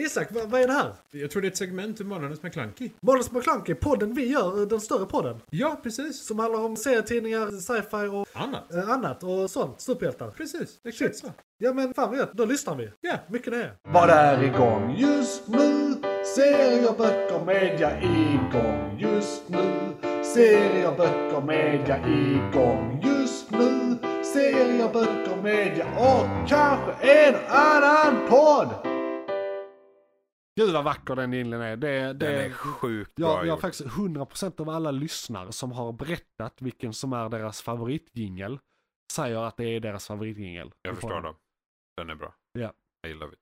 Isak, vad, vad är det här? Jag tror det är ett segment ur Månadens McKlunky. Månadens McKlunky, podden vi gör, eh, den större podden. Ja, precis. Som handlar om serietidningar, sci-fi och Annat. eh, annat och sånt. Superhjältar. Precis, exakt så. Ja men fan vad gött, då lyssnar vi. Ja, Mycket det är. Vad är igång just nu? Serier, böcker, media igång just nu. Serier, böcker, media igång just nu. Serier, böcker, media och kanske en annan podd. Gud vad vacker den inledningen är. Det, det, Den är sjukt bra Eh, jag, jag har gjord. faktiskt 100% av alla lyssnare som har berättat vilken som är deras favoritjingel säger att det är deras favoritjingel. Jag förstår dem. Den är bra. Ja. Jag gillar det.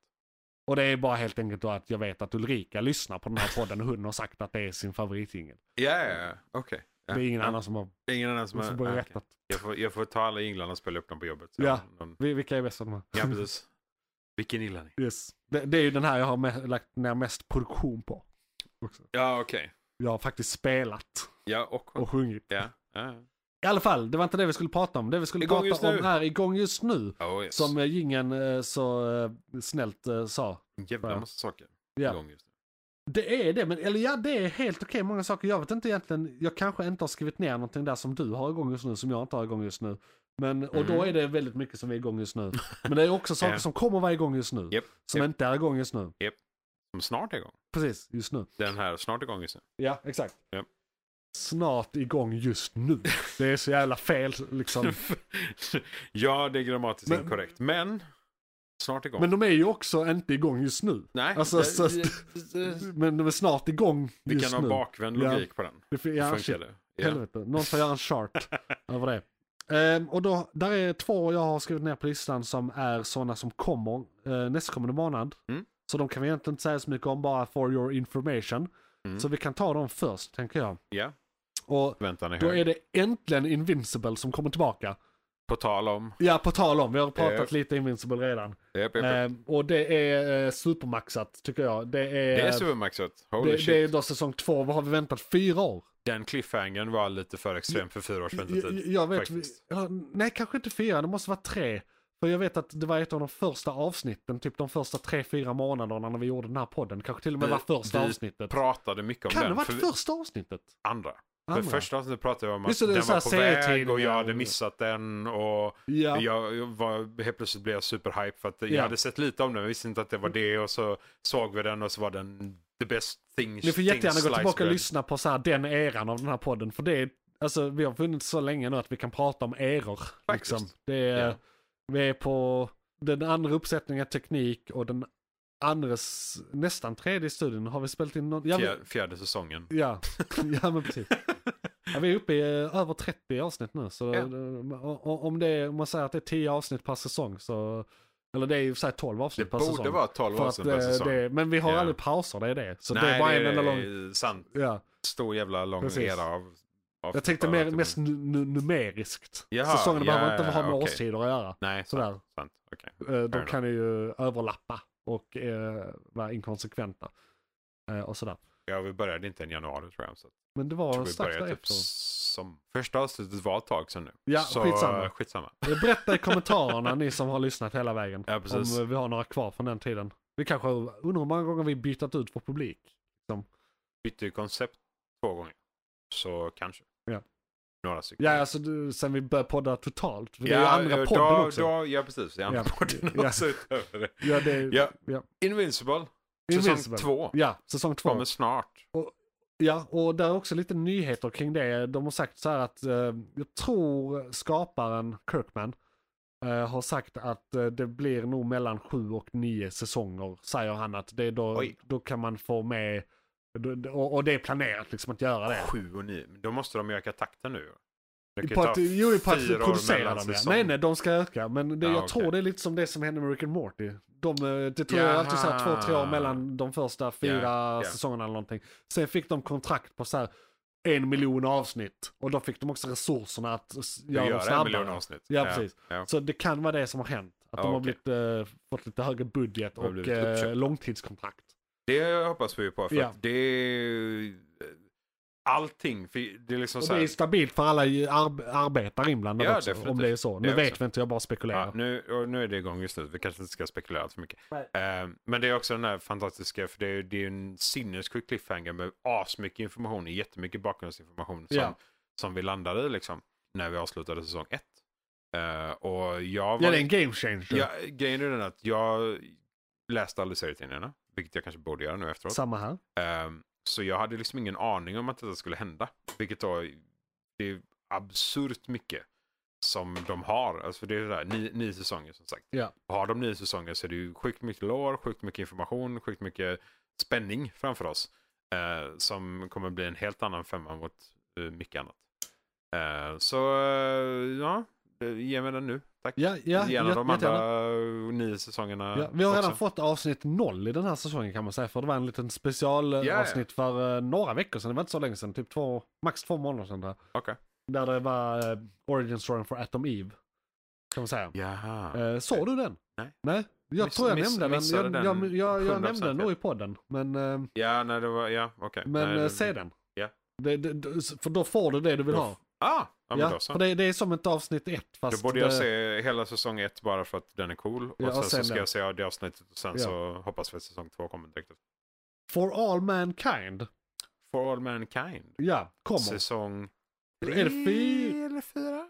Och det är bara helt enkelt då att jag vet att Ulrika lyssnar på den här podden och hon har sagt att det är sin favoritjingel. Ja, ja, ja. Okej. Ja. Det är ingen Ja. annan som har Det är ingen annan som som har... har ah, okej. rättat. Jag, får, jag får ta alla jinglarna och spela upp dem på jobbet. Så Ja. någon- Vi- Vilka är bäst av de här? ja, precis. Vilken gillar ni? Yes. Det, det är ju den här jag har me- lagt ner mest produktion på. Också. Ja, okej. Jag har faktiskt spelat Ja, och... och sjungit. Ja. ja. I alla fall, det var inte det vi skulle prata om. Det vi skulle Igång just prata om nu. här igång just nu. Oh, yes. Som gingen så eh, snällt eh, sa. Jävla massa saker Ja. igång just nu. Det är det, men eller ja det är helt okej många saker. Jag vet inte egentligen, jag kanske inte har skrivit ner någonting där som du har igång just nu, som jag inte har igång just nu. Men, och då Mhm. är det väldigt mycket som är igång just nu. Men det är också saker Ja. som kommer vara igång just nu. Japp, som japp. inte är igång just nu. Som snart är igång. Precis, just nu. Den här snart är igång just nu. Ja, exakt. Japp. Snart igång just nu. Det är så jävla fel liksom. ja, det är grammatiskt Men- inkorrekt. Men snart igång. Men de är ju också inte igång just nu. Nej, alltså, det- så- Men de är snart igång vi just kan ha nu. bakvänd Ja. logik på den. Det fin- Ja, ja, shit. funkar det. Ja. Helvete, någon får göra en chart över det. Ehm, och då, där är två jag har skrivit ner på listan som är sådana som kommer uh, nästkommande månad. Mm. Så de kan vi egentligen inte säga så mycket om, bara for your information. Mm. Så vi kan ta dem först, tänker jag. ja, Och väntan är då hög. är det äntligen Invincible som kommer tillbaka. På tal om... Ja, på tal om, vi har pratat Japp. lite Invincible redan. Japp, japp, japp. Ehm, och det är eh, supermaxat, tycker jag. Det är, det är eh, supermaxat. Holy det, shit. det är då säsong två, vad har vi väntat? Fyra år? Den cliffhangern var lite för extrem för fyra års Jag, väntetid. jag vet, faktiskt. ja, nej kanske inte fyra, det måste vara tre. För jag vet att det var ett av de första avsnitten, typ de första tre, fyra månaderna när vi gjorde den här podden. Kanske till och med Vi- var första vi avsnittet. Pratade mycket om Kan det den. ha varit för vi- första avsnittet? Andra. För Andra? första avsnittet pratade vi om att Just det, det är den så var här på väg och jag serietidningar. hade missat den. Och Ja, jag, jag var, helt plötsligt blev jag superhype för att jag Ja. hade sett lite om den. Jag visste inte att det var det och så såg vi den och så var den the best thing. ni får thing jättegärna gå sliced tillbaka och bread. lyssna på så här, den eran av den här podden. För det är, alltså vi har funnits så länge nu att vi kan prata om eror. Faktiskt. Liksom. Det är, Ja. Vi är på den andra uppsättningen teknik och den andres, nästan tredje i studion. Har vi spelat in någon? Ja, vi- Fjär, fjärde säsongen. Ja, ja men precis. Ja, vi är uppe i eh, över 30 avsnitt nu. Så Ja. eh, o- o- om, det är, om man säger att det är 10 avsnitt per säsong så... Eller det är ju så här 12 Det avsnitt per borde säsong. vara 12 För avsnitt att, per eh, säsong. Det, men vi har Ja. aldrig pauser, det är det. Så Nej, det är bara en enda lång... är sant. Ja. Stor jävla lång Precis. era av... av typ Jag tänkte av- mer, mest nu, nu, numeriskt. Jaha, Säsongerna ja, behöver inte ja, ha med okej. årstider att göra. Nej, sant. Sådär. sant. Okej. Eh, De enough. kan ju överlappa och eh, vara inkonsekventa. Eh, och sådär. Ja, vi började inte i januari tror jag. Så Men det jag var tror vi strax började typ därefter. som... Första avsnittet var ett tag sedan nu. Ja, så, skitsamma. skitsamma. Eh, Berätta i kommentarerna ni som har lyssnat hela vägen. Ja, precis. Om eh, vi har några kvar från den tiden. Vi kanske undrar hur många gånger vi byttat ut vår publik. Bytte ju koncept två gånger. Så kanske. Ja. Några stycken. Ja, alltså du, sen vi började podda totalt. Det är Ja, ju andra eh, podden då, också. Då, ja, precis. Det är andra Ja. podden Ja. också utöver det. Ja, det, Ja. ja. Invincible. Säsong Invincible. två. Ja, säsong två. Kommer snart. Ja, och där är också lite nyheter kring det. De har sagt så här att, eh, jag tror skaparen Kirkman eh, har sagt att eh, det blir nog mellan sju och nio säsonger, säger han att det är då, Oj. då kan man få med, då- och, och det är planerat liksom att göra det. Sju och nio. Men Då måste de öka takten nu. Det kan ju På ta att, jo, på fyra att år producera mellan dem ja. säsong. Nej, nej, de ska öka. Men det, Ja, jag okej. tror det är lite som det som hände med Rick and Morty. De, eh, det tror jag Jaha. alltid så här två, tre år mellan de första fyra ja. säsongerna eller någonting. Sen fick de kontrakt på så här en miljon avsnitt. Och då fick de också resurserna att s- Vi göra dem gör en snabbare. miljon avsnitt. Ja, precis. Ja. Så det kan vara det som har hänt. Att Ja, de har okej. blivit, eh, fått lite högre budget De har och blivit uppköpta. eh, långtidskontrakt. Det hoppas vi ju på. För Ja. att det är ju- allting. För det är liksom Och så det är här, stabilt för alla ju arb- arbetare inblandade Ja, också, om definitivt. det är så. Nu Det är vet också. vi inte, jag bara spekulerar. ja, nu, och nu är det igång just nu, vi kanske inte ska spekulera allt för mycket. Eh, men det är också den här fantastiska, för det är ju det är ju en sinnessjuk cliffhanger med asmycket information, jättemycket bakgrundsinformation som, Ja. som vi landade i liksom, när vi avslutade säsong ett. Eh, och jag ja, var det är en game changer. Ja, grejen är den att jag läste aldrig serietidningarna, vilket jag kanske borde göra nu efteråt. Samma här. Ehm, så jag hade liksom ingen aning om att detta skulle hända, vilket då det är absurt mycket som de har. Alltså för det är det där, nio, nio säsonger som sagt. Ja. Har de nio säsonger så är det ju sjukt mycket lår, sjukt mycket information, sjukt mycket spänning framför oss. eh, som kommer bli en helt annan femma mot eh, mycket annat. Eh, så eh, ja, ge mig den nu. Tack. Ja, ja, Gärna Alltså, de jätte- jättegärna. andra eh, nio säsongerna Ja, vi har redan också. fått avsnitt noll i den här säsongen kan man säga. För det var en liten specialavsnitt Ja, ja. avsnitt för eh, några veckor sedan. Det var inte så länge sedan, typ två, max två månader sedan. Där, Okej. där det var eh, Origin Storyn för Atom Eve. Kan man säga. Jaha. Eh, såg du den? Nej. Nej, jag Miss- tror jag miss- nämnde missade den. Jag, jag, den jag, jag 100% nämnde den nog fel. i podden. Men, eh, Ja, nej det var, ja okej. men Nej, eh, det- se den. Ja. Det, det, det- för då får du det du vill Då ha. Ah, ja, men Ja, då så. för det, det är som ett avsnitt ett fast eh, Då borde jag det, se hela säsong ett bara för att den är cool. Och Ja, och sen, sen så ska den. jag se det avsnittet och sen Ja. så hoppas vi att säsong två kommer direkt efter. For All Mankind. For All Mankind. Ja, kommer. Säsong Är det fy- tre eller fyra?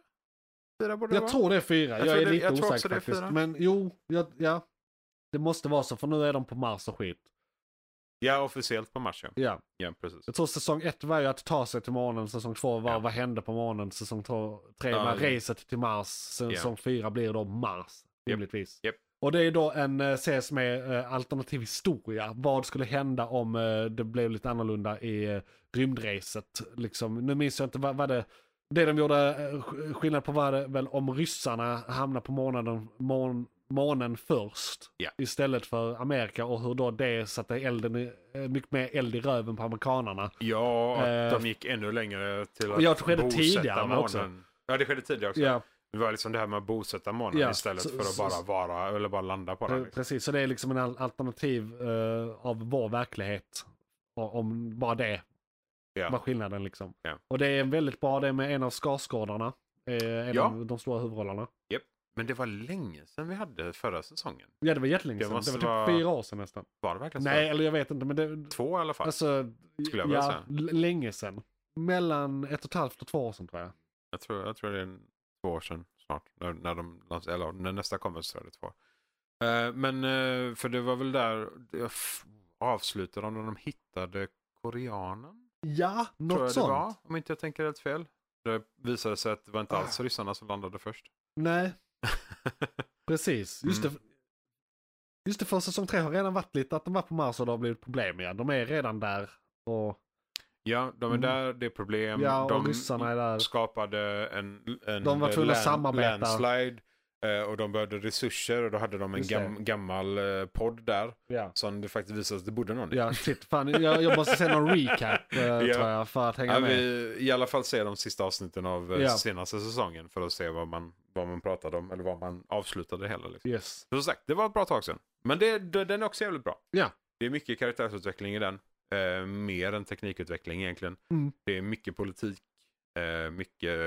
Fyra borde det Jag vara. tror det är fyra. Jag, Jag tror är det- lite jag tror också osäker det är faktiskt. fyra. Men jo, jag, ja. Det måste vara så för nu är de på Mars och skit. Ja, officiellt på mars ja. Ja. ja precis. Jag tror säsong ett var ju att ta sig till månen, säsong två var Ja. vad hände på månen, säsong två, tre Ja, var ja. reset till Mars, säsong fyra blir då Mars. Rimligtvis. Japp. Och det är då en eh, serie med eh, alternativ historia. Vad skulle hända om eh, det blev lite annorlunda i eh, rymdreset? Liksom, nu minns jag inte vad, vad det... Det de gjorde eh, sk- skillnad på var det väl om ryssarna hamnar på månaden, mån, månen först. Ja. Istället för Amerika och hur då det satte elden i, eh, mycket mer eld i röven på amerikanarna. Ja, att Eh, de gick ännu längre till ja, att det skedde bosätta tidigare månen. också. Ja, det skedde tidigare också. Ja, Det var liksom det här med att bosätta månen Ja, istället så- för att så- bara så- vara, eller bara landa på den. pre- Liksom. precis. Så det är liksom en al- alternativ eh, av vår verklighet. Och, om bara det Ja. var skillnaden liksom. Ja. Och det är väldigt bra det med en av Skarsgårdarna. eh, En Ja. av de stora huvudrollerna. Men det var länge sedan vi hade förra säsongen. Ja, det var jättelänge Det sedan. Det måste var typ vara- fyra år sedan nästan. Var det verkligen Nej, eller jag vet inte. Men det, så? Två i alla fall. Alltså, Skulle jag vilja ja, säga. l- länge sedan. Mellan ett och ett halvt och två år sedan tror jag. Jag, tror, jag tror det är en- två år sedan snart. När, när, de, lans- eller, när nästa kommer så är det två. Eh, men eh, för det var väl där jag f- avslutade de när de hittade koreanen. Ja, Tror något jag det var, sånt. om inte jag tänker helt fel. Det visade sig att det var inte Ah. alls ryssarna som landade först. Nej, precis. Just, Mm. det, just det, för säsong tre har redan varit lite att de var på Mars och det har blivit problem igen. De är redan där och, ja, de är Mm. där, det är problem. ja, och de ryssarna är där. skapade en, en De var tvungna att samarbeta. landslide. eh, Och de behövde resurser och då hade de en Just det. gam, gammal eh, podd där. Ja. Som det faktiskt visade att det bodde någon i. Ja, shit, fan, jag, jag måste se någon recap eh, Ja. tror jag för att hänga Ja, med. vi i alla fall se de sista avsnitten av eh, Ja. senaste säsongen för att se vad man, vad man pratade om eller vad man avslutade hela. Liksom. Yes. Som sagt, det var ett bra tag sedan. Men det, d- den är också jävligt bra. Ja. Det är mycket karaktärsutveckling i den. Eh, mer än teknikutveckling egentligen. Mm. Det är mycket politik. Eh, mycket,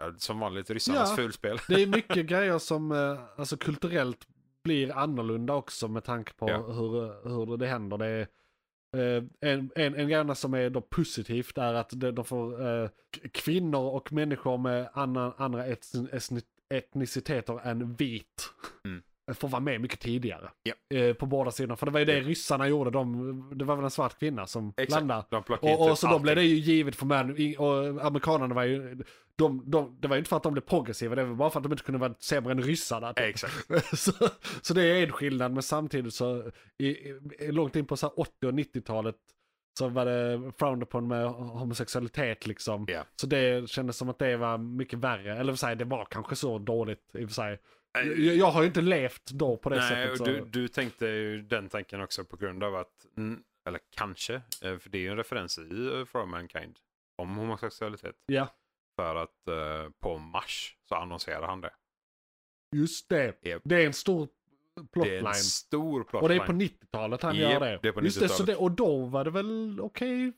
ja, som vanligt, ryssarnas Ja. fulspel. Det är mycket grejer som eh, alltså, kulturellt blir annorlunda också med tanke på Ja. hur, hur det händer. Det är, eh, en, en, en grej som är då positivt är att de, de får eh, k- kvinnor och människor med annan, andra etn- etn- etniciteter än vit Mm. får vara med mycket tidigare. Ja. Eh, på båda sidorna. För det var ju det Ja. ryssarna gjorde. De, det var väl en svart kvinna som landade. De plockar inte Och, och så då allting. blev det ju givet för män, i- och amerikanerna var ju, de, de, det var ju inte för att de blev progressiva, det var bara för att de inte kunde vara sämre än ryssarna. typ. Exakt. så, så det är en skillnad, men samtidigt så, i, i, långt in på så här 80 och 90-talet, så var det frowned upon med homosexualitet liksom. Ja. Så det kändes som att det var mycket värre, eller för sig, det var kanske så dåligt i och för sig. Jag, jag har ju inte levt då på det Äh. Nej, sättet. och Så. du, du tänkte ju den tanken också på grund av att, mm, eller kanske, eh, för det är ju en referens i eh, For All Mankind om homosexualitet. Ja, För att eh, på Mars så annonserar han det. just det. Japp. Det är en stor Det är plotline. en stor plotline. Och det är på 90-talet han Japp, gör det. det är på Just det, så 90-talet. det, och då var det väl okej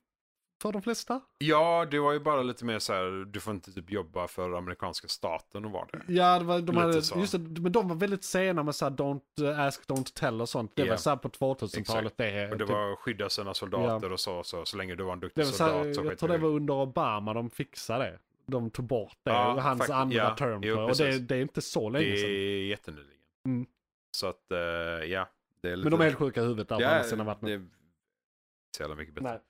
för de flesta. Ja, det var ju bara lite mer så här, du får inte typ jobba för amerikanska staten och vara det. Ja, det var, de, Lite hade, så. just det, men de var väldigt sena med så här, don't eh, ask, don't tell och sånt. Det Ja. var så här på 2000-talet. Det, Och det typ- var skydda sina soldater och så, så, så länge du var en det duktig var så här, soldat så jag skiter tror det vi. var under Obama de fixade det. De tog bort det, Ja, och hans faktiskt, andra ja. term. Jo, tror jag. och det, precis. det är inte så länge Det sedan. är jättenyligen. Mm. Så att, eh, ja. Det är lite... Men de är helt sjuka i huvudet där på andra sidan vattnet. Det är inte så jävla mycket bättre.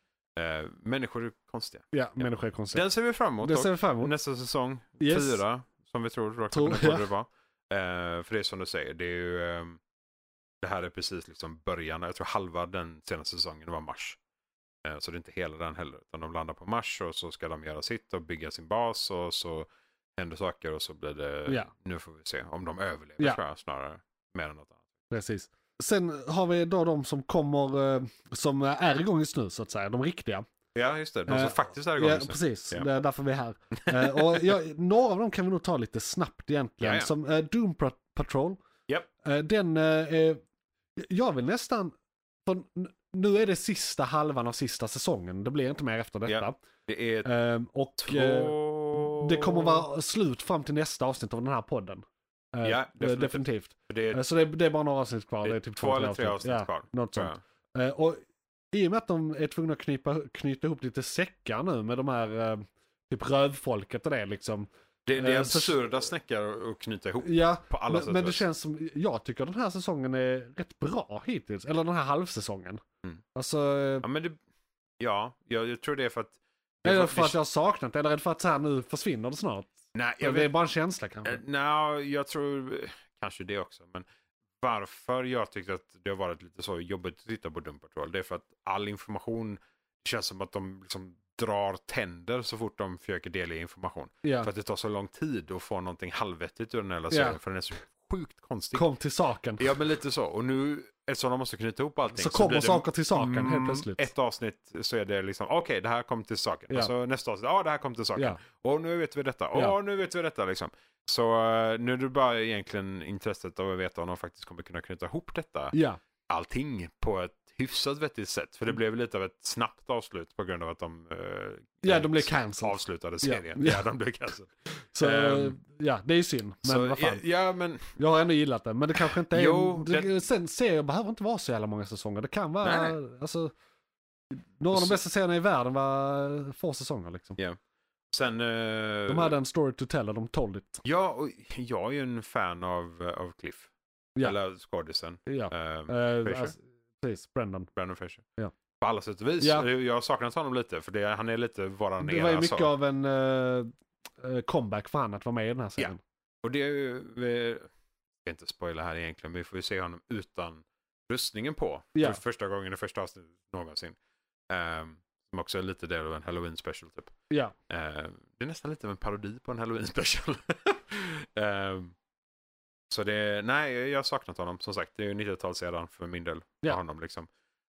Eh, människor är konstiga. Ja, människor är konstiga. Den ser vi fram emot. Det dock. ser vi fram emot. Nästa säsong, Yes. fyra, som vi tror rakt Tror- upp och ner ja. borde det vara. Eh, för det är som du säger, det är ju... ehm, det här är precis liksom början, jag tror halva den senaste säsongen var mars. Eh, så det är inte hela den heller, utan de landar på mars och så ska de göra sitt och bygga sin bas och så händer saker och så blir det... Ja. Nu får vi se om de överlever Ja. tror jag, snarare. Mer än något annat. Precis. Sen har vi då de som kommer, eh, som är igång just nu så att säga, de riktiga. Ja, just det. De som Eh, faktiskt är igång Ja, just nu. precis. Ja. Det är därför vi är här. Eh, och jag, några av dem kan vi nog ta lite snabbt egentligen. Ja, ja. Som eh, Doom Pat- Patrol. Japp. Eh, den, eh, eh, jag vill nästan, för n- nu är det sista halvan av sista säsongen. Det blir inte mer efter detta. Ja. Det är Eh, och eh, två... det kommer vara slut fram till nästa avsnitt av den här podden. Eh, Ja, eh, definitivt. definitivt. Det är Eh, Så det, det är bara några avsnitt kvar. Det är typ två eller tre avsnitt ja, kvar. Något tror sånt. jag. Eh, Och i och med att de är tvungna att knypa, knyta ihop lite säckar nu med de här eh, typ rövfolket och det liksom. Det, det är Eh, så- absurda snäckar att knyta ihop. Ja, På alla sätt men, och men det vis. känns som, jag tycker den här säsongen är rätt bra hittills. Eller den här halvsäsongen. Mm. Alltså, eh, Ja, men det, ja jag, jag tror det är för att... det är eller att för det- att jag har saknat det, eller är det för att så här nu försvinner det snart. Nej, jag Jag det är vet, bara en känsla kanske. eh, nej, jag tror eh, kanske det också. Men varför jag tyckte att det har varit lite så jobbigt att titta på Doom Patrol, det är för att all information det känns som att de liksom drar tänder så fort de försöker delge information. ja. För att det tar så lång tid att få någonting halvvettigt ur den här Ja. serien, för den är så sjukt konstig. Kom till saken. Ja, men lite så. Och nu, eftersom de måste knyta ihop allting. så kommer blir det- saker till saken helt Mm, plötsligt. Ett avsnitt så är det liksom, okej det här kom till saken. Ja. Och så nästa avsnitt, ja det här kom till saken. Ja. Och nu vet vi detta, och Ja. nu vet vi detta liksom. Så eh, nu är det bara egentligen intresset av att veta om de faktiskt kommer kunna knyta ihop detta, Ja, Mm. allting, på ett hyfsat vettigt sätt. För det blev lite av ett snabbt avslut på grund av att de, eh, ja eh, de blev cancelled. avslutade serien. Ja. Ja, de blev cancelled. Så, Ehm, eh, ja, det är ju synd. Men så, vad fan. Ja, ja, men Jag har ändå gillat den, men det kanske inte är... Jo, det, det- Sen serier behöver inte vara så jävla många säsonger. Det kan vara... Nej, Alltså, några av de Så- bästa serierna i världen var få säsonger liksom. sen... eh, De hade en story to tell och de told it. Ja, och jag är ju en fan av, eh, av Cliff. Ja. Eller skådisen. Ja. ehm, Eh, Fisher. alltså, precis, Brendan. Brandon Fraser. Ja. På alla sätt och vis. Ja. Jag har saknat honom lite för det, han är lite alltså. varann Det var ju mycket av en eh, eh, comeback för han att vara med i den här serien. Och det är ju, vi ska inte spoila här egentligen, men vi får ju se honom utan rustningen på. Ja. För första gången i första avsnittet någonsin. Ehm, som också är lite del av en halloween special typ. Ja. Ehm, det är nästan lite av en parodi på en halloween special. Ehm, så det, nej jag har saknat honom som sagt. Det är ju 90-tal sedan för min del. Ja. För honom liksom.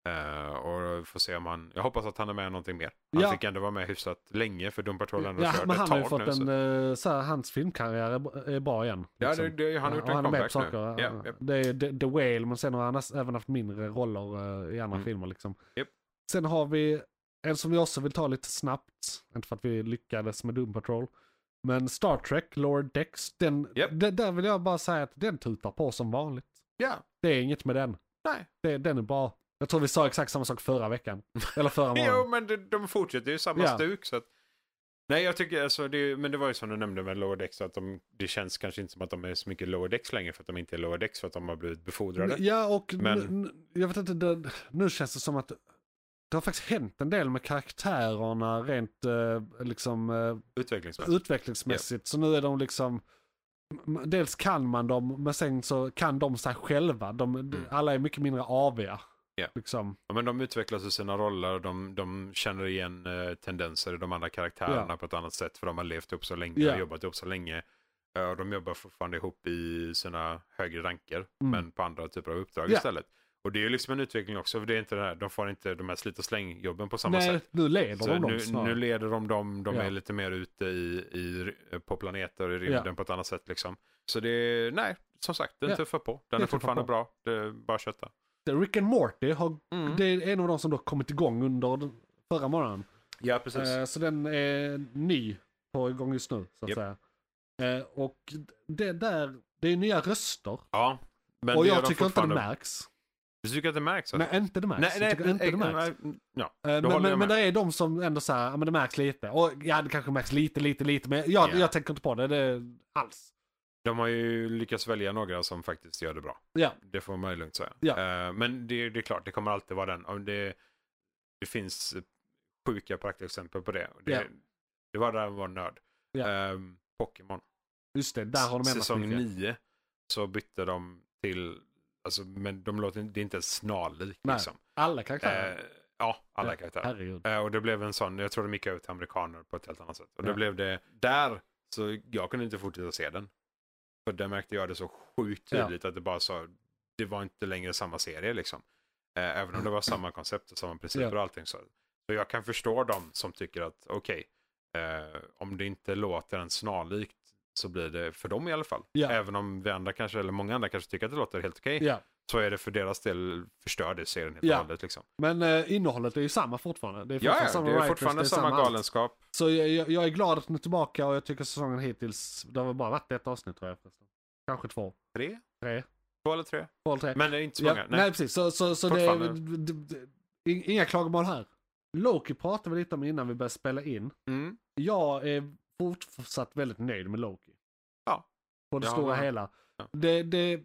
Ehm, och får se om han, jag hoppas att han är med i någonting mer. Han Ja. fick ändå vara med hyfsat länge för Doom Patrol ändå Ja, körde men ett han har ju tag fått nu. så- en, eh, så här, hans filmkarriär är b- är bra igen. Ja, liksom. det, det, han har gjort Ja, en han är med på comeback nu. saker. Ja, ja. Det är The, The Whale, men sen har han näs- även haft mindre roller eh, i andra Mm. filmer. Liksom. Japp. Sen har vi en som jag också vill ta lite snabbt, inte för att vi lyckades med Doom Patrol. Men Star Trek, Lord Dex, den, Japp. den, där vill jag bara säga att den tutar på som vanligt. Ja, Det är inget med den. nej. Det, den är bra. Jag tror vi sa exakt samma sak förra veckan. Eller förra Jo, månaden. men de, de fortsätter ju samma Ja. stuk. Så att... Nej, jag tycker alltså, det, är ju- men det var ju som du nämnde med Lordex, att de, det känns kanske inte som att de är så mycket Lordex längre för att de inte är Lordex för att de har blivit befordrade. ja, och Men- nu, nu- jag vet inte, det, nu känns det som att det har faktiskt hänt en del med karaktärerna rent eh, liksom eh, Utvecklingsmässigt. utvecklingsmässigt. Så nu är de liksom, m- dels kan man dem, men sen så kan de sig själva. De, d- Mm. Alla är mycket mindre aviga. Ja. Liksom. Ja, men de utvecklas i sina roller, de, de känner igen eh, tendenser i de andra karaktärerna på ett annat sätt för de har levt upp så länge Ja. och jobbat ihop så länge. Eh, Och de jobbar fortfarande ihop i sina högre ranker Mm. men på andra typer av uppdrag Ja. istället. Och det är ju liksom en utveckling också, för det är inte det här, de får inte de här slit och släng-jobben på samma Nej, sätt. nu leder Så de nu, dem snarare. nu leder de dem, de Ja. är lite mer ute i, i, eh, på planeter och i rymden Ja. på ett annat sätt liksom. Så det är, nej, som sagt, den Ja. tuffar på. Den Den är tuffar fortfarande på. bra, det är bara att kötta. Rick and Morty har, Mm. det är en av de som då kommit igång under den, förra månaden. Ja, precis. Eh, så den är ny på igång just nu, så att Japp. säga. Eh, och det där, det är nya röster. ja. Men och det gör jag de tycker inte det fortfarande- märks. Du tycker att det märks? alltså? Nej, inte det märks. jag tycker inte det nej, märks. nej, Ja, Eh, då Men, håller men, jag men med. det är de som ändå så här, ja men det märks lite. Och ja, det kanske märks lite, lite, lite. Men jag, Ja. jag tänker inte på det, det alls. De har ju lyckats välja några som faktiskt gör det bra. Ja. Det får man ju lugnt säga. Ja. Eh, men det, det är klart, det kommer alltid vara den. Om det, det finns eh, sjuka praktexempel på det. det Ja. Det var där jag var nörd. Ja. Eh, Pokémon. Just det, där har de ändrat Säsong mycket. 9 så bytte de till, alltså, men de låter, det är inte ens snarlikt Nej. liksom. Alla karaktärer. Eh, ja, alla Ja, karaktärer. Herregud. Eh, Och det blev en sån, jag tror de gick över till amerikaner på ett helt annat sätt. Och Ja. det blev det där, så jag kunde inte fortsätta se den. För där märkte jag det så sjukt Ja. tydligt att det bara så, det var inte längre samma serie liksom. Eh, Även om det var samma koncept och samma principer Ja. och allting. Så. så jag kan förstå dem som tycker att okej, eh, om det inte låter en snarlikt så blir det för dem i alla fall. Ja. Även om vi andra kanske, eller många andra kanske tycker att det låter helt okej. Ja. Så är det för deras del förstör det serien helt och Ja. hållet liksom. Men eh, innehållet är ju samma fortfarande. Det är Ja, fortfarande ja, samma det är writers, fortfarande det är samma allt. galenskap. Så jag, jag, jag är glad att den är tillbaka och jag tycker säsongen hittills, det har väl bara varit ett avsnitt tror jag förresten. Kanske två. Tre? Tre. Två eller tre? Två eller tre. Men det är inte så Ja, många. nej. nej. precis, så, så, så det, Fortfarande. d- d- d- inga klagomål här. Loki pratade vi lite om innan vi började spela in. Mm. Jag är fortsatt väldigt nöjd med Loki. Ja. På det Ja, stora men- hela. ja. Det, det,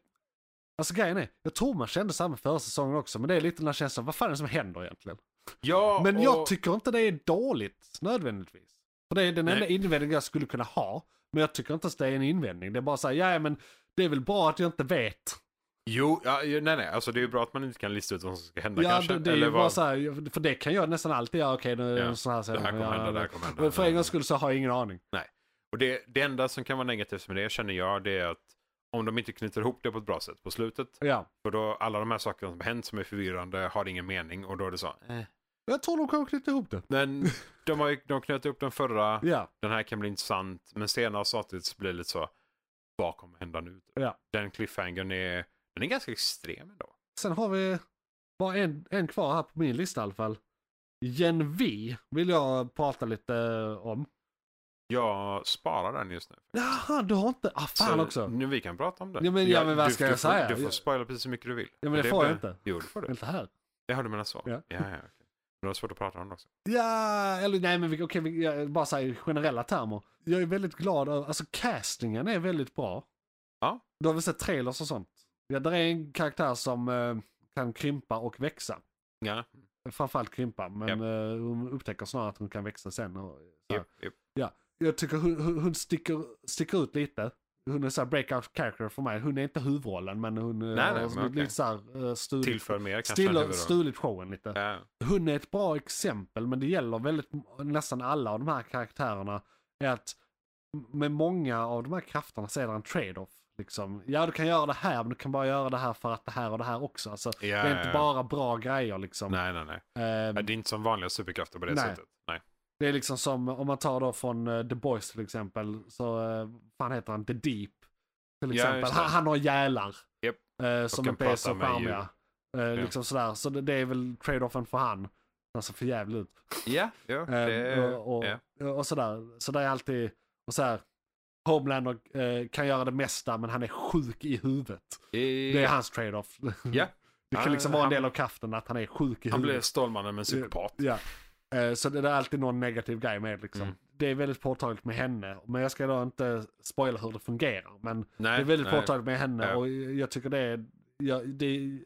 alltså grejen är, jag tror man kände samma förra säsongen också, men det är lite den här känslan, vad fan är det som händer egentligen? Ja, Men jag och- tycker inte det är dåligt nödvändigtvis. För det är den Nej. enda invändning jag skulle kunna ha. Men jag tycker inte ens det är en invändning. Det är bara så här, ja men det är väl bra att jag inte vet. Jo, ja, ju- nej nej. Alltså det är ju bra att man inte kan lista ut vad som ska hända Ja, kanske. det, det är eller ju vad... bara så här, för det kan jag nästan alltid göra. Okej, nu är Ja, det så här det här kommer ja, hända, det här men- kommer hända. Men för en gångs skull så har jag ingen aning. Och det, det enda som kan vara negativt med det känner jag det är att om de inte knyter ihop det på ett bra sätt på slutet. Ja. För då alla de här sakerna som har hänt som är förvirrande har ingen mening och då är det så. eh. Jag tror de kommer knyta ihop det. Men de, har, ju- de knöt ihop den förra, Ja, den här kan bli intressant. Men senare samtidigt så blir det lite så, vad kommer hända nu? Ja. Den cliffhangern är, den är ganska extrem ändå. sen har vi bara en, en kvar här på min lista i alla fall. Gen V vill jag prata lite om. Jag sparar den just nu. Jaha, du har inte... Ah, fan Så också. Nu vi kan prata om det. Ja, men- ja, men vad du, ska du, jag får- säga? Du får Jag- spoila precis så mycket du vill. Ja, men det är får jag bara- inte. Jo, det får du. Inte här. Jaha, du menar så? Ja. Ja, ja, ja. okej. Men det var svårt att prata om det också. Ja, eller nej men vi, okej, vi, jag bara säger generella termer. Jag är väldigt glad över, alltså castingen är väldigt bra. Ja. Du har väl sett trailers och sånt? Ja, där är en karaktär som eh, kan krympa och växa. Ja, Framförallt krympa, men eh, hon upptäcker snarare att hon kan växa sen. Och, så här. japp, japp. Jag tycker hon, hon, hon sticker, sticker ut lite. Hon är såhär breakout character för mig. Hon är inte huvudrollen men hon eh, Nej, nej, har men okej. lite såhär eh, stulit, Tillför mer kanske. än stilla- huvudrollen. stulit showen lite. Ja. Hon är ett bra exempel, men det gäller väldigt, nästan alla av de här karaktärerna. Är att med många av de här krafterna så är det en trade-off. Liksom. Ja, du kan göra det här, men du kan bara göra det här för att det här och det här också. Alltså, det Ja, ja, är inte ja. bara bra grejer liksom. Nej, nej, nej. Ehm, Ja, Det är inte som vanliga superkrafter på det Nej. sättet. Nej. det är liksom som, om man tar då från eh, The Boys till exempel, så eh, fan heter han The Deep. Till Ja, exempel. just det. han, han har gälar. Japp. Eh, som kan inte är prata så med djur. charmiga. Eh, liksom sådär. Så det, det är väl trade-offen för han. Han ser för jävligt ut. Ja, ja. Eh, Det, och, och, ja. och sådär. Så det är alltid, och så här, Homelander eh, kan göra det mesta men han är sjuk i huvudet. Det är hans trade-off. Ja. Det kan Han- liksom vara en han- del av kraften att han är sjuk i Han blev huvudet. Stålmannen men psykopat. Ja. Eh, så det det är alltid någon negativ grej med liksom. Mm. Det är väldigt påtagligt med henne. Men jag ska då inte spoila hur det fungerar. Men Nej, det är väldigt nej. påtagligt med henne Ja. och jag tycker det är, jag, det är...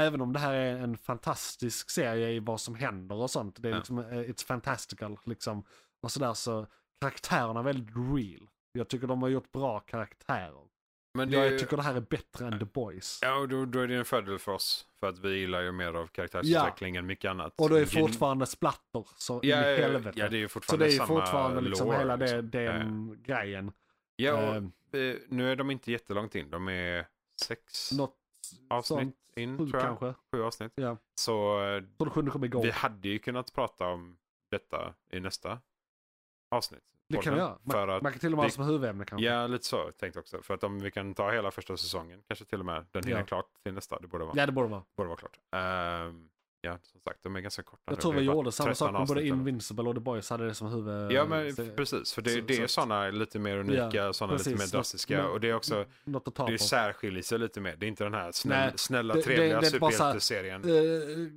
Även om det här är en fantastisk serie i vad som händer och sånt. Det är Ja. liksom, eh, it's fantastical liksom. Och sådär så karaktärerna är väldigt real. Jag tycker de har gjort bra karaktärer. Men det, jag, är ju- tycker det här är bättre än The Boys. Ja, och då, då är det en fördel för oss. För att vi gillar ju mer av karaktärsutveckling än mycket annat. Och det är Gen- fortfarande splatter så ja, in i ja, helvete. ja, det är ju så det fortfarande är ju samma fortfarande liksom lore, hela det, liksom. den grejen. Ja, och Eh, Eh, nu är de inte jättelångt in. De är sex något avsnitt sånt. in, Sju tror jag. kanske. Sju avsnitt. Ja. Så eh, Så det sjunde kommer igång. vi hade ju kunnat prata om detta i nästa avsnitt. det kan vi Podden. göra. Man, För att, man kan till och med ha det vi- som huvudämne kanske. ja, lite så tänkte jag också. För att om vi kan ta hela första säsongen, kanske till och med den hinner Ja. klart till nästa. Det borde vara, Ja, det borde vara. borde vara klart. Ehm, olika. Som sagt, de är ganska korta. Jag nu. tror Det är vi bara gjorde samma 13 sak med både avsnitt eller något. Invincible och The Boys hade det som huvud... Ja men se- precis, för det, Eh, så- det är så- sådana lite mer unika, Ja, sådana lite precis. mer Något- drastiska. något- och det är också, något att ta det är på. särskiljer sig lite mer. Det är inte den här snäll, Nej, snälla, det- det- trevliga det är bara så här- superhjälteserien. Eh,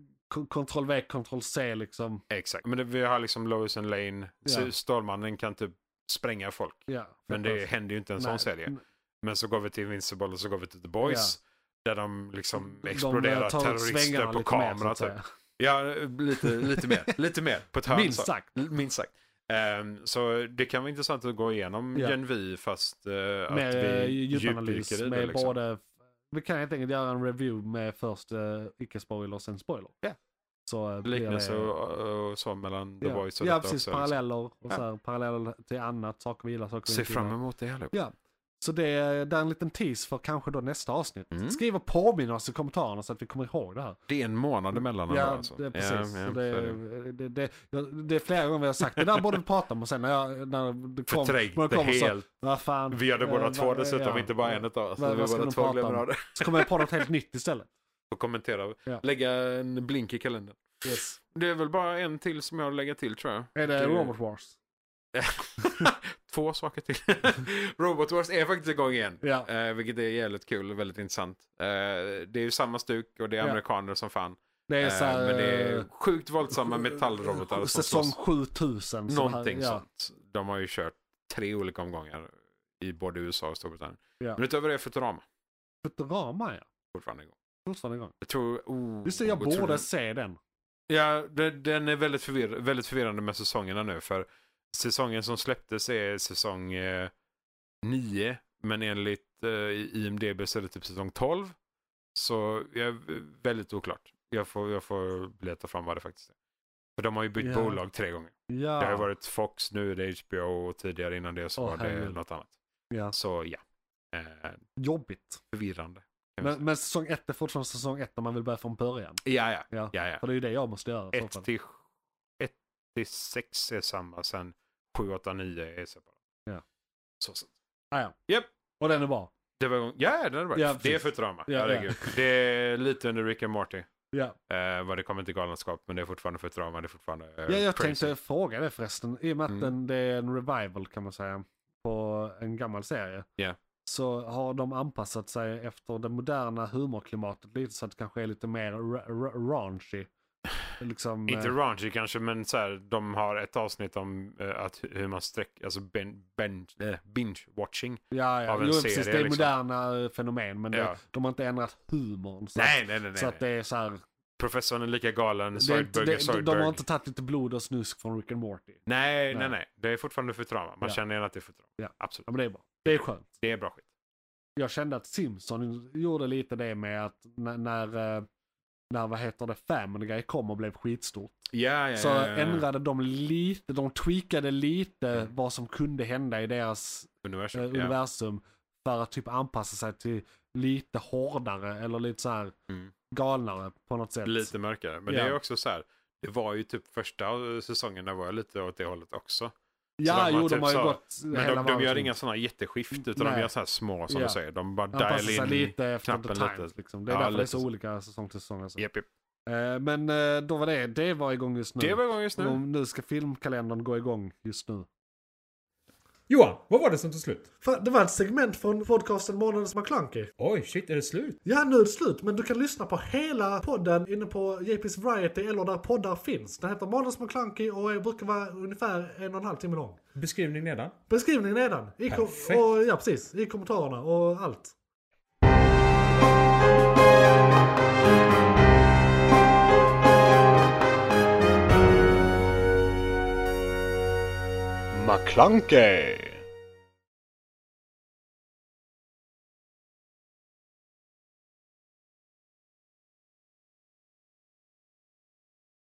Kontroll V, Kontroll C liksom. Exakt, men det, vi har liksom Lois and Lane, Ja. ja. Stålmannen kan typ spränga folk. Ja, Men det händer ju inte en sån Nej, serie. n- Men så går vi till Invincible och så går vi till The Boys. Där de liksom de, eh, exploderar tar åt svängarna terrorister på lite mer, så kamera. att Typ. säga. Ja, lite, lite mer. Lite mer. På ett hörn. Minst så. sagt. L- Minst sagt. Ehm, så det kan vara intressant att gå igenom Ja. Gen V fast eh, att Med eh, vi djupanalys, djupdyker i det. med Liksom. både... Vi kan helt enkelt göra en review med först eh, icke-spoiler och sen spoiler. Ja. Så eh, blir Liknelse det- och, och så mellan The ja. Boys och Ja, detta precis. också. liksom. Paralleller och Ja. så här, paralleller till annat, saker vi gillar, saker vi Se inte gillar. fram emot det allihop. Ja. Så det är, det är en liten tease för kanske då nästa avsnitt. Mm. Skriv och påminn oss i kommentarerna så att vi kommer ihåg det här. Det är en månad emellan. ja, ändå, alltså. det, är precis. Ja, ja, Så så är det, det. det, det, jag- det är flera gånger vi har sagt det där borde vi prata om och sen när, jag, när det kom, Förträngt när det kom det så, helt. vad fan. Vi gör det eh, båda vad- två dessutom, ja. inte bara en utav oss. Vad- Vi vad ska båda de två prata glömmer om? av det. Så kommer jag på något helt nytt istället. Och kommentera. Ja. Lägga en blink i kalendern. Yes. Det är väl bara en till som jag lägger till tror jag. Är det Det- Robert Wars? Två saker till. Robot Wars är faktiskt igång igen. Ja. Eh, vilket är jävligt kul och väldigt intressant. Eh, det är ju samma stuk och det är Ja. amerikaner som fan. Det är Eh, så här, men det eh, är sjukt våldsamma metallrobotar som Säsong slåss. 7000. så här, Någonting ja. sånt. De har ju kört tre olika omgångar i både USA och Storbritannien. Ja. Men utöver det är Futurama Futurama ja. fortfarande igång. Fortfarande igång. Jag tror... Oh, Just det, jag tror- borde se den. Ja, det- den är väldigt, förvirr väldigt förvirrande med säsongerna nu. För säsongen som släpptes är säsong 9. men enligt eh, IMDB så är det typ säsong 12. Så jag är väldigt oklart. Jag får, jag får leta fram vad det faktiskt är. För de har ju bytt Ja. bolag tre gånger. Ja. Det har ju varit Fox, nu är det HBO och tidigare innan det så Åh, var det herregud. något annat. ja. Så ja, eh, Jobbigt. förvirrande. kan man Men, men säsong ett är fortfarande säsong ett om man vill börja från början. säga. Ja, ja. Ja. ja, ja. För det är ju det jag måste göra. i så 1 fall. till, 1 till 6 är samma, sen 7, 8, 9 är separat. Ja. Så, så. Ah, ja. Japp. Och den är bra. Det var igång. Ja, det är bra. Ja, det är precis. för drama. Ja, ja. Herregud. Det är lite under Rick and Morty. Ja. Eh, vad det kommer till galenskap, men det är fortfarande för drama. Det är fortfarande eh, ja, jag crazy. tänkte fråga det förresten. I och med att Mm. den, det är en revival kan man säga. På en gammal serie. Ja. Så har de anpassat sig efter det moderna humorklimatet lite så att det kanske är lite mer ra- ra- raunchy. Liksom, Inte eh, raunchy kanske, men så här, de har ett avsnitt om eh, att hur man sträcker, alltså ben, ben, eh, binge-watching. ja, ja. av en Jo, serie, precis, det är liksom. moderna eh, fenomen men Ja. det, de har inte ändrat humorn. Så, Nej, nej, nej. så nej. att det är så här, Professorn är lika galen, det, är inte- Zoidberg är det, de, de Zoidberg. har inte tagit lite blod och snusk från Rick and Morty. Nej, nej, Nej. nej. Det är fortfarande för drama. Ja. Man känner igen att det är för drama. Ja. Absolut. Ja, men det är bra. Det är skönt. Det är bra skit. jag kände att Simpson gjorde lite det med att när, när, eh, när vad heter det, Family Guy kom och blev skitstort. Ja, ja, Så ja, ja, ja. ändrade de lite, de tweakade lite Eh. Mm. vad som kunde hända i deras eh, universum. ja. universum. För att typ anpassa sig till lite hårdare eller lite så här Mm. galnare på något sätt. Lite mörkare. Men Ja. det är också så här. Det var ju typ första eh, säsongen där var jag lite åt det hållet också. ja, de har jo, de typ har ju så- gått Men hela de, de gör varvet inga runt. sådana jätteskift utan de Nej. gör så här små som Ja. du säger. De bara Anpassa dial sig in. lite efter the knappen times. lite. Liksom. Det är Ja, därför det är lite så, så. olika säsong till säsong. Alltså. Japp, japp. Eh, men eh, då var det, det var igång just nu. Det var igång just nu. Om nu ska filmkalendern gå igång just nu. Johan, vad var det som tog slut? Fan, det var ett segment från podcasten Månadens McKlunky. Oj, shit, är det slut? Ja, nu är det slut, men du kan lyssna på hela podden inne på JP's Variety eller där poddar finns. Den heter Månadens McKlunky och är- brukar vara ungefär en och en halv timme lång. Beskrivning nedan. Beskrivningen nedan. I kom- Perfekt. och, ja, precis. I kommentarerna och allt. McClunkey!